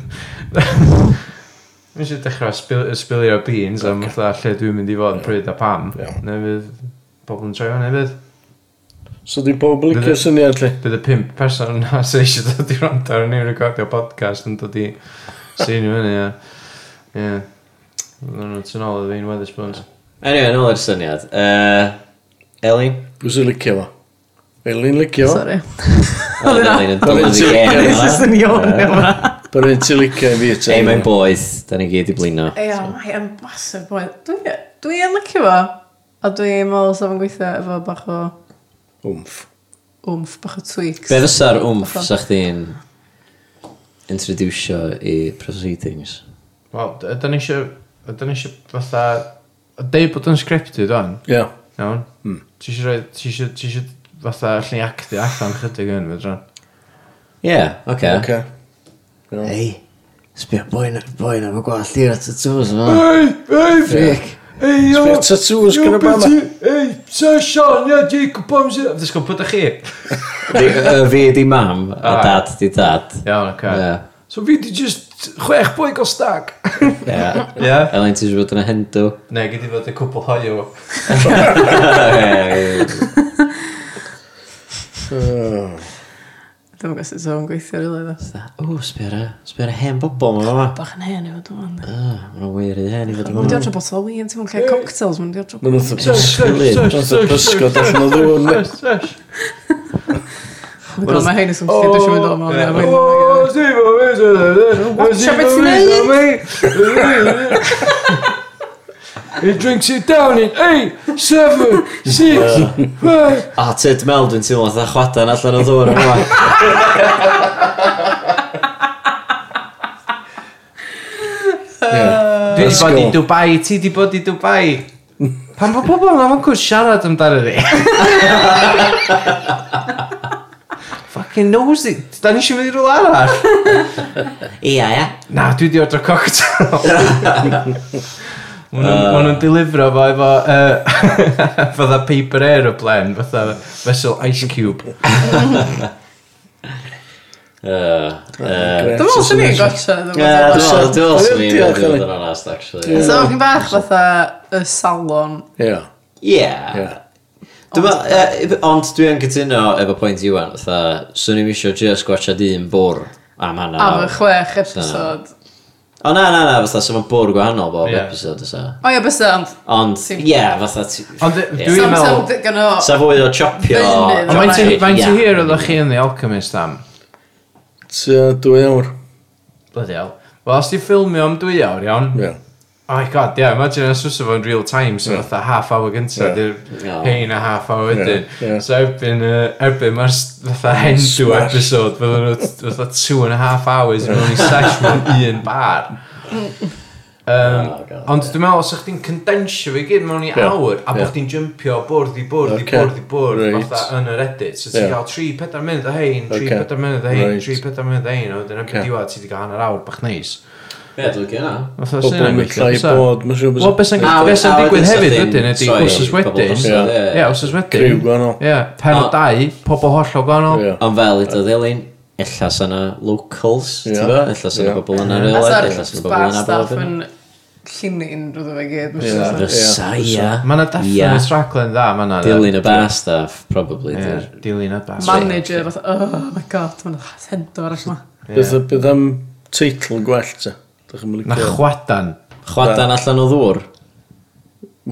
S2: Dwi'n eisiau dechrau spil- spilio'r beans am fatha lle dwi'n mynd i fod yn pryd a pam.
S4: Iawn.
S2: Neu fydd pobl yn troi hwnna fydd.
S4: So di pob licio
S2: Bydd-
S4: syniad lle.
S2: Bydd y pimp person na sy'n eisiau dod i rando ar ni'n recordio podcast yn dod i sy'n i fyny. ie. Ie. Dwi'n nhw'n tyn ôl i fi'n Weatherspoons.
S1: Anyway, nôl i'r syniad. Uh, Elin?
S4: Pwy sy'n licio fo? Eileen licio fo?
S3: Sorry.
S1: Oedd Elin yn dod yn
S4: Oedd
S1: ddig
S4: Elin-
S1: eir.
S3: Just yn iawn.
S4: Byr un ti'n licio i fi.
S1: Ei,
S4: Ei,
S1: mae'n boeth. Da ni gyd i blino.
S3: Ia, mae yn masif boi. Dwi dwi yn licio fo. A dwi'n meddwl sef yn gweithio efo bach o
S4: Wmff.
S3: wmff, bach o tweaks.
S1: Be fysa'r wmff
S3: Fatha.
S1: sa chdi'n introducio i proceedings?
S2: Wel, ydyn ni eisiau... Ydyn ni eisiau fatha... Deud bod yn scripted o'n.
S4: Ie.
S2: Iawn? Mm. Ti eisiau rhoi, ti eisiau, ti eisiau fatha allan i actio allan chydig yn fydran?
S1: Ie, oce.
S4: Oce.
S1: Ei, sbio boi na, boi na, mae gwallt i'r tattoos yma.
S2: Ei, ei,
S1: Fric.
S2: ei,
S4: Sbio ar tattoos gyda bama.
S2: ei, Sir Sean, ie, Jacob Bombs, ie. Fydys gwybod ydych chi?
S1: Fi y fi di mam, a
S2: Ah.
S1: dad di dad.
S2: Iawn, oce.
S1: Ie.
S2: So fi di just chwech boi gael stag.
S1: Ie.
S2: Ie?
S1: Elain, ti'n siŵr bod yn y hendw?
S2: Ne, gyd i fod y cwpl hoiw.
S3: Dwi'n gwybod sut o'n gweithio rili dda.
S1: O, sbio'r sbio'r hen bobl yma yma.
S3: Bach yn hen i fod o'n dda.
S1: Mae'n wir i hen i fod
S3: Mae'n
S1: yma.
S3: diolch o botol wyn, ti'n mwyn cael cocktails, mae'n diolch o...
S4: Mae'n wrth bysgod allan o ddŵr. yndi?
S3: Mae hyn yn swm sydd eisiau
S4: Oh.
S3: mynd o'n mewn. ie, mae'n-
S2: O, Steve, o, fe, so, so, so,
S3: Watsio
S2: so,
S3: beth
S2: so,
S3: ti'n
S2: so,
S3: neud.
S2: so, He drinks it down in 8, 7, 6, 5.
S1: A Ted Mel, dwi'n teimlo fatha chwadan allan o ddŵr yma.
S4: Ie.
S2: Dwi
S4: Let's
S2: wedi bod i
S4: go.
S2: Dubai, ti wedi bod i Dubai. Pan bod pobl yma mae'n cwrs siarad amdano ni. Fucking nosy. Da ni eisiau mynd i rhywle arall.
S1: Ia, ia.
S2: Na, dwi wedi ordro cocktail. Maen nhw'n- maen nhw'n delifro fo efo yy, fatha paper aeroplane, fatha vessel ice cube.
S1: Dwi'n
S3: Dwi'n meddwl sy'n ni'n gosio. Dwi'n meddwl sy'n
S1: meddwl, dwi'n meddwl sy'n
S4: Ie,
S1: ni'n
S4: diolch,
S1: meddwl
S4: Elin.
S1: yn onast, actually.
S3: So, chi'n bach fatha y salon.
S4: Ie. Ie.
S1: Ie. Dwi'n meddwl, ond dwi'n cytuno efo pwynt Iwan, fatha, swn i'n misio just gwachad un bwr am hana.
S3: Am y chwech episod.
S1: O na, na, na, fatha, so mae'n bwr gwahanol bob
S2: Ie.
S1: episod, ysa.
S3: O ia, bys ond.
S1: Ond,
S3: Ti'n-
S1: ie, fatha... ti-
S2: Ond
S1: Ie.
S2: dwi'n meddwl...
S3: Sam digon o...
S1: Sa fwy o chopio...
S3: Fynydd,
S2: Ond faint i-
S3: Right,
S2: faint i
S1: Ie.
S2: hir oeddech chi yn The Alchemist am?
S4: Tua dwy awr.
S2: Bloody hell. Wel, os ti ffilmio am dwy awr, iawn?
S4: Ie.
S2: Oh my god, yeah, imagine os fysa fo'n real time, so fatha half hour gynta,
S4: Ie.
S1: Ie.
S2: yeah. hein a half hour wedyn.
S4: Ie, ie.
S2: So erbyn, uh, erbyn mae'r s- fatha hendw
S4: Smash.
S2: episode, fydden nhw t- fatha two and a half hours yn mewn i sesh mewn un bar. Um,
S1: Oh, God,
S2: ond dwi'n meddwl, os ych chi'n condensio fi gyd mewn i
S4: Ie.
S2: awr, a
S4: Ie.
S2: bod chdi'n jumpio bwrdd i bwrdd i
S4: Ocê.
S2: bwrdd i bwrdd,
S4: Reit.
S2: fatha yn yr edit, so
S4: Ie.
S2: ti'n cael 3-4 munud o hein, 3-4
S4: Ocê.
S2: munud o hein,
S4: Reit.
S2: 3-4 munud o hein, a
S4: Ocê.
S2: wedyn erbyn diwedd, ti wedi cael hanner awr bach neis.
S1: Ie, dwi'n gynna.
S2: Fatha, sy'n
S4: Pobl
S2: hynna'n
S4: yn
S2: gweithio,
S4: llai
S2: fysa?
S4: bod. Mae'n siŵr
S2: Wel, beth sy'n
S1: A-
S2: beth sy'n
S1: a
S2: digwydd
S1: wedyn sa
S2: hefyd
S1: thing,
S2: wedyn ydy
S1: sorry,
S2: wsos
S1: pobl
S2: wedyn.
S1: amser,
S4: Ie.
S2: Ie, wsos
S4: Criw
S2: wedyn.
S4: gwahanol.
S2: Ie, pen o
S1: O.
S2: dau, pobl hollol gwahanol.
S4: Ie.
S1: Ond fel i dy ddilyn, illa sy'n locals, ti'n
S4: Ie.
S1: fo? Illa sy'n
S4: Ie.
S1: bobl yna
S3: A
S1: rhywle,
S3: sa'r
S1: illa sy'n
S3: bar
S1: bobl yna
S3: staff
S1: bobl
S3: yn
S1: yna.
S3: llinyn rwyddo fe gyd.
S4: Ie.
S3: mae'n siŵr.
S1: Fysa, ia.
S2: Mae yna definite raglen dda, mae yna. de.
S1: Dilyn y bar staff, probably.
S2: Ie,
S1: di'r-
S2: Dilyn y bas.
S3: Manager, fatha, oh my god, mae'n sento arall ma.
S4: Beth beth am teitl gwell te? Dych chi'n mynd
S2: Na chwadan.
S1: Chwadan allan o ddŵr.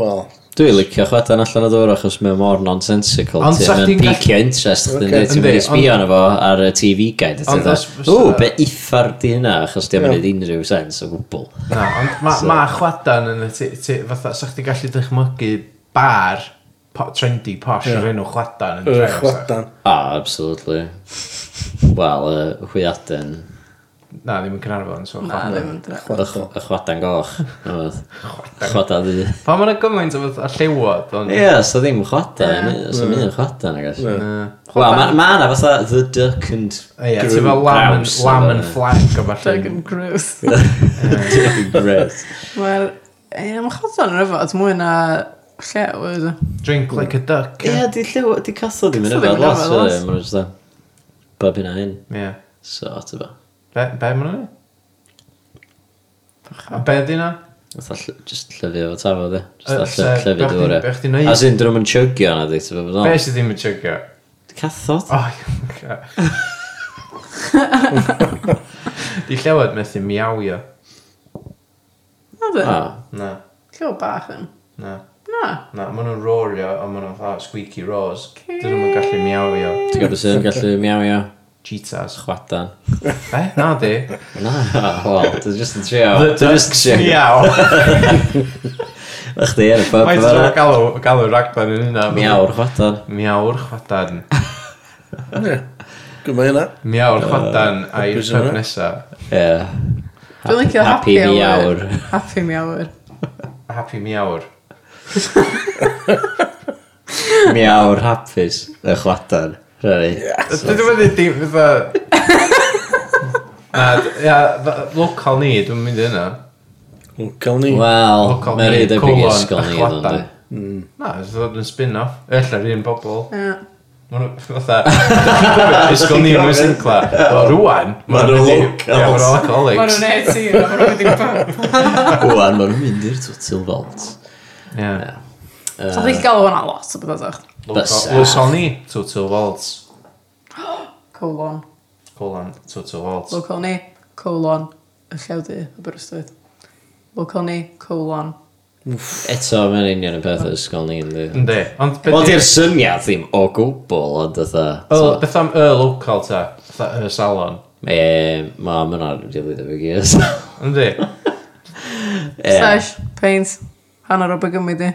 S4: Wel,
S1: Dwi'n licio chwadan allan o ddŵr achos mae o mor nonsensical.
S2: Ond sa
S1: Ti'n
S2: chdi'n
S1: mynd
S2: gall-
S1: picio interest, chdi'n
S4: Ocê.
S1: dweud, ti'n mynd
S2: Yndi,
S1: i sbio arno fo ar y TV guide. a ti'n
S2: Ond os
S1: dweud,
S2: fysa-
S1: O, be iffar di hynna, achos di'n
S4: Ie.
S1: mynd unrhyw sens o gwbl.
S2: Na, ond ma- ma chwadan yn y ti, ti- fatha, sa chdi gallu dychmygu bar po- trendy posh o'r enw chwadan yn
S4: y
S2: dref, sa.
S4: chwadan.
S1: O, Ah, absolutely. Wel, y hwyaden,
S2: Na, ddim yn Caernarfon, so
S3: Na,
S2: chwadan.
S3: ddim yn dra.
S1: y ch- y chwadan goch. neu beth. Chwadan ddu.
S2: Pan mae'n gymaint o fatha llewod, ond...
S1: Ie, so ddim chwadan, so ddim yn chwadan, I guess. Wel,
S2: Na.
S1: ma- ma' na fatha the duck and
S2: Ie,
S1: Green
S2: ti'n fel lam yn-
S1: Grouse,
S2: lam
S1: neu
S2: yn
S1: be.
S2: fflanc o falle.
S3: Dragon Grouse.
S1: Great.
S3: Wel, ie, mae'n chodon yn yfod mwy na llew e. ydw.
S2: Drink like a duck.
S1: Ie, di lliw, di catho ddim yn
S3: Catho
S1: yfed
S3: ddim yn
S1: lot,
S3: yfed lot.
S1: yy, ma'n jyst dda. Bob hynna hyn,
S2: Ie.
S1: so at efo.
S2: Be, be ma'n ei? A be di na?
S1: Fatha ll- jyst llyfu efo tafo, di.
S2: Yy,
S1: Jyst
S2: so,
S1: a ll- llyfu
S2: be' chdi-
S1: dŵr, e.
S2: be' chdi'n
S1: ie.
S2: neud?
S1: As in, dyn nhw'n chugio na, di, ti'n fawr
S2: Be
S1: bod
S2: sydd ddim yn chygio?
S1: Cathod?
S2: O, ie. Di llewod methu miawio.
S3: Na dwi,
S1: O,
S2: Na,
S3: llew bach yn.
S2: na.
S3: Na.
S2: Na, maen nhw'n rorio, a maen nhw'n fatha squeaky roars. Dyn nhw'n gallu miawio.
S1: ti'n gwybod beth sy'n gallu miawio?
S2: Cheetahs.
S1: Chwadan.
S2: Be? Na di.
S1: Na, wel, dwi'n jyst yn trio. Dwi'n jyst yn trio.
S2: miaw.
S1: Ych di, yn y pub
S2: Mae'n
S1: yma.
S2: dod galw, galw raglan yn hynna.
S1: Miawr chwadan.
S2: Miawr chwadan.
S4: Ie. Gwma hynna.
S2: Miawr chwadan a'i
S4: hapus
S2: pub
S4: yna.
S2: nesaf.
S1: Ie.
S3: Dwi'n licio happy
S1: miawr.
S3: hour. Happy hour.
S2: Happy miawr.
S1: miawr hapus y chwadan. Rhaid.
S2: Dwi ddim wedi dim fatha... Na, d- ia, fa- local ni, dwi'n mynd i hynna.
S4: Local ni.
S1: Wel,
S2: Local
S1: mae'n
S2: ni,
S1: rhaid ebyn i
S2: colon,
S1: ysgol ni
S2: y
S1: oedd ynddi.
S2: chwadan. Na, dwi'n dod yn spin-off. Ella'r un bobl.
S3: Ie.
S2: Ma' nhw- Fatha, ysgol ni yn Wysincla. O, rwan.
S4: Ma' nhw
S2: wedi- Ie, ma'
S4: locals.
S2: nhw'n
S3: Mae nhw'n e-
S2: alcoholics.
S3: net i, mae nhw'n wedi pub.
S1: Wan, mae'n mynd i'r twytyl falt.
S2: Ie.
S3: So dwi'n gael hwnna lot o bethau sech.
S1: Bysa.
S2: Local- Local ni, Total Waltz.
S3: Colon,
S2: Colon, Total Waltz.
S3: local ni, colon, y llewdu, y byrstwyd. Local ni, colon.
S1: Eto, mae'n union y peth o ysgol ni ynddi.
S2: Yndi. Ond be'
S1: Wel,
S2: di-
S1: di'r syniad ddim o gwbl, ond
S2: Y-
S1: ytho.
S2: Beth am y local ta? Fatha y salon.
S1: E, ma, mae'n ar rili dy fi gys.
S2: Yndi.
S3: Stash, paint, hanner o bygymyd i.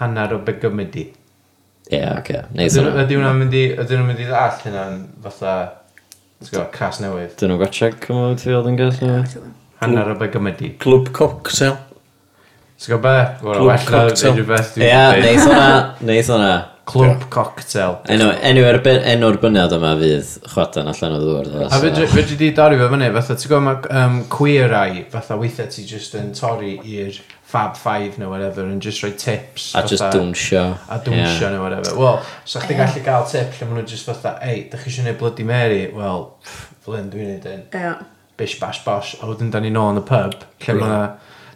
S2: Hanner o begymydi.
S1: Ie, oce. Neith
S2: Ydyn
S1: hwnna.
S2: nhw'n mynd i, ydyn nhw'n mynd i ddall hynna'n fatha, ti'n gwybod, cas newydd.
S1: Dyn nhw'n gotcha cymryd fi oedd yn gas nhw?
S2: Hanner o begymydi.
S4: Clwb cocktail.
S2: Ti'n gwybod be?
S4: Clwb
S2: Gwrdd well na
S4: cocktail.
S2: unrhyw beth
S1: Ie,
S2: dwi'n gwneud.
S1: neith hwnna. Neith hwnna.
S2: Clwb cocktail.
S1: Enw, enw ar ben, enw'r bynnod yma fydd chwadan allan o ddŵr.
S2: A fydri fydri di dorri fe fyny, fatha, ti'n gwybod mae um, queer eye, fatha weithiau ti just yn torri i'r Fab Five neu whatever, yn just rhoi tips.
S1: A just
S2: fatha,
S1: dwnsio.
S2: A dwnsio neu whatever. Wel, so chdi gallu gael tip lle maen nhw just fatha, ei, dych chi eisiau gwneud Bloody Mary? Wel, pff, flyn dwi'n neud un.
S3: Ie.
S2: bish bash bosh a wedyn da ni nôl yn y pub lle mae yna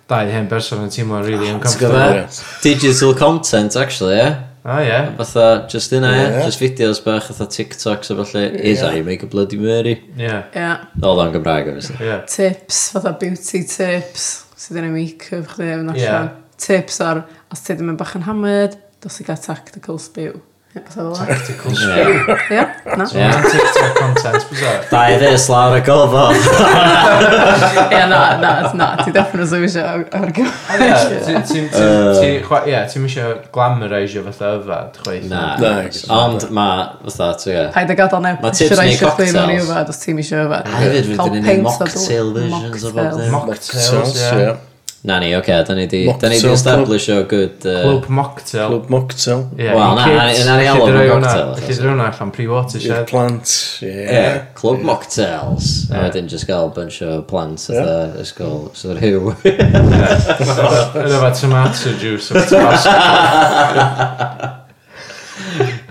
S2: dau hen berson yn teimlo'n really
S1: Ah, Ti'n gwybod?
S2: uncomfortable. Oh,
S1: be? Digital content, actually, ie.
S2: O ie.
S1: Fatha, just yna, ie.
S4: Ie.
S1: Just fideos bach, fatha TikToks a falle. Is how you make a bloody Mary.
S2: Ie.
S3: Ie.
S1: Oedd o'n Gymraeg, obviously.
S2: Ie.
S3: Tips, fatha beauty tips, sydd yn y make-up chdi yn allan.
S2: Ie.
S3: Tips ar, os ti ddim yn bach yn hammered, dos i gael tactical spew. Ie, fatha fel yna.
S2: Tactical shit.
S1: Ie.
S3: Ie, na.
S2: So mae'n TikTok content, bwysau.
S1: Da i ddys lawr y gofod.
S3: Ie, na, na, na, ti definitely ddim eisiau ar- ar gyfer.
S2: Ie, ti'n eisiau glamorisio fatha yfad, chweith.
S1: Na.
S4: Nice.
S1: Ond ma, fatha, ti'n gwybod?
S3: Paid a gadael neb
S1: Ma' tips neu
S3: pressurisio chdi mewn i
S1: cocktails.
S3: yfad os ti'n eisiau yfad.
S1: A hefyd,
S3: Cael
S1: fydden ni'n
S3: paint
S1: neud
S3: a
S1: mocktail
S3: dw-
S1: versions o bob dim.
S3: mocktails.
S2: Mocktails, ie.
S1: Na ni, oce, okay, da ni di,
S4: Mocktail
S1: da ni di
S4: club.
S1: establish o good... Uh,
S2: Clwb mocktail.
S4: Clwb mocktail.
S2: Ie,
S1: Wel,
S2: i
S1: na,
S2: kids,
S1: na- na ni
S2: felly
S1: alw
S2: droi
S1: nhw'n
S2: hwnna-
S1: cocktail,
S2: Felly drwy'n allan
S4: I'r
S2: pre-water shed.
S4: plant.
S1: Yeah,
S4: Ie.
S1: Clwb Mocktails. A
S2: Ie.
S1: wedyn just gael bunch o plant yeah. y ysgol, sydd yr hyw.
S2: Yn yma tomato juice o tabasco.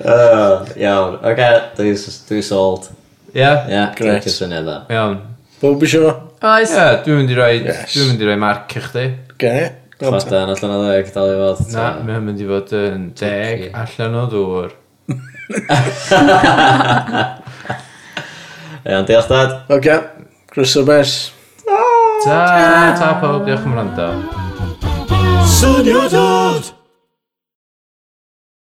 S1: Iawn, oce, dwi sold.
S2: Ie.
S1: Ie,
S4: Grêt.
S1: dwi'n syniad dda.
S2: Iawn.
S4: Bob isio.
S3: Oes,
S2: Ie, dwi'n mynd i roi,
S4: Yes.
S2: dwi'n mynd i roi marc i chdi.
S4: Ge.
S1: Chwadan allan o ddeg, dal i fod.
S2: Na, mae o'n mynd i fod yn deg
S1: Ocê.
S2: allan o ddŵr.
S1: Iawn, diolch dad.
S4: Oce. Chris o bes.
S2: Ta, ta pawb, diolch am wrando.
S5: Syniadad!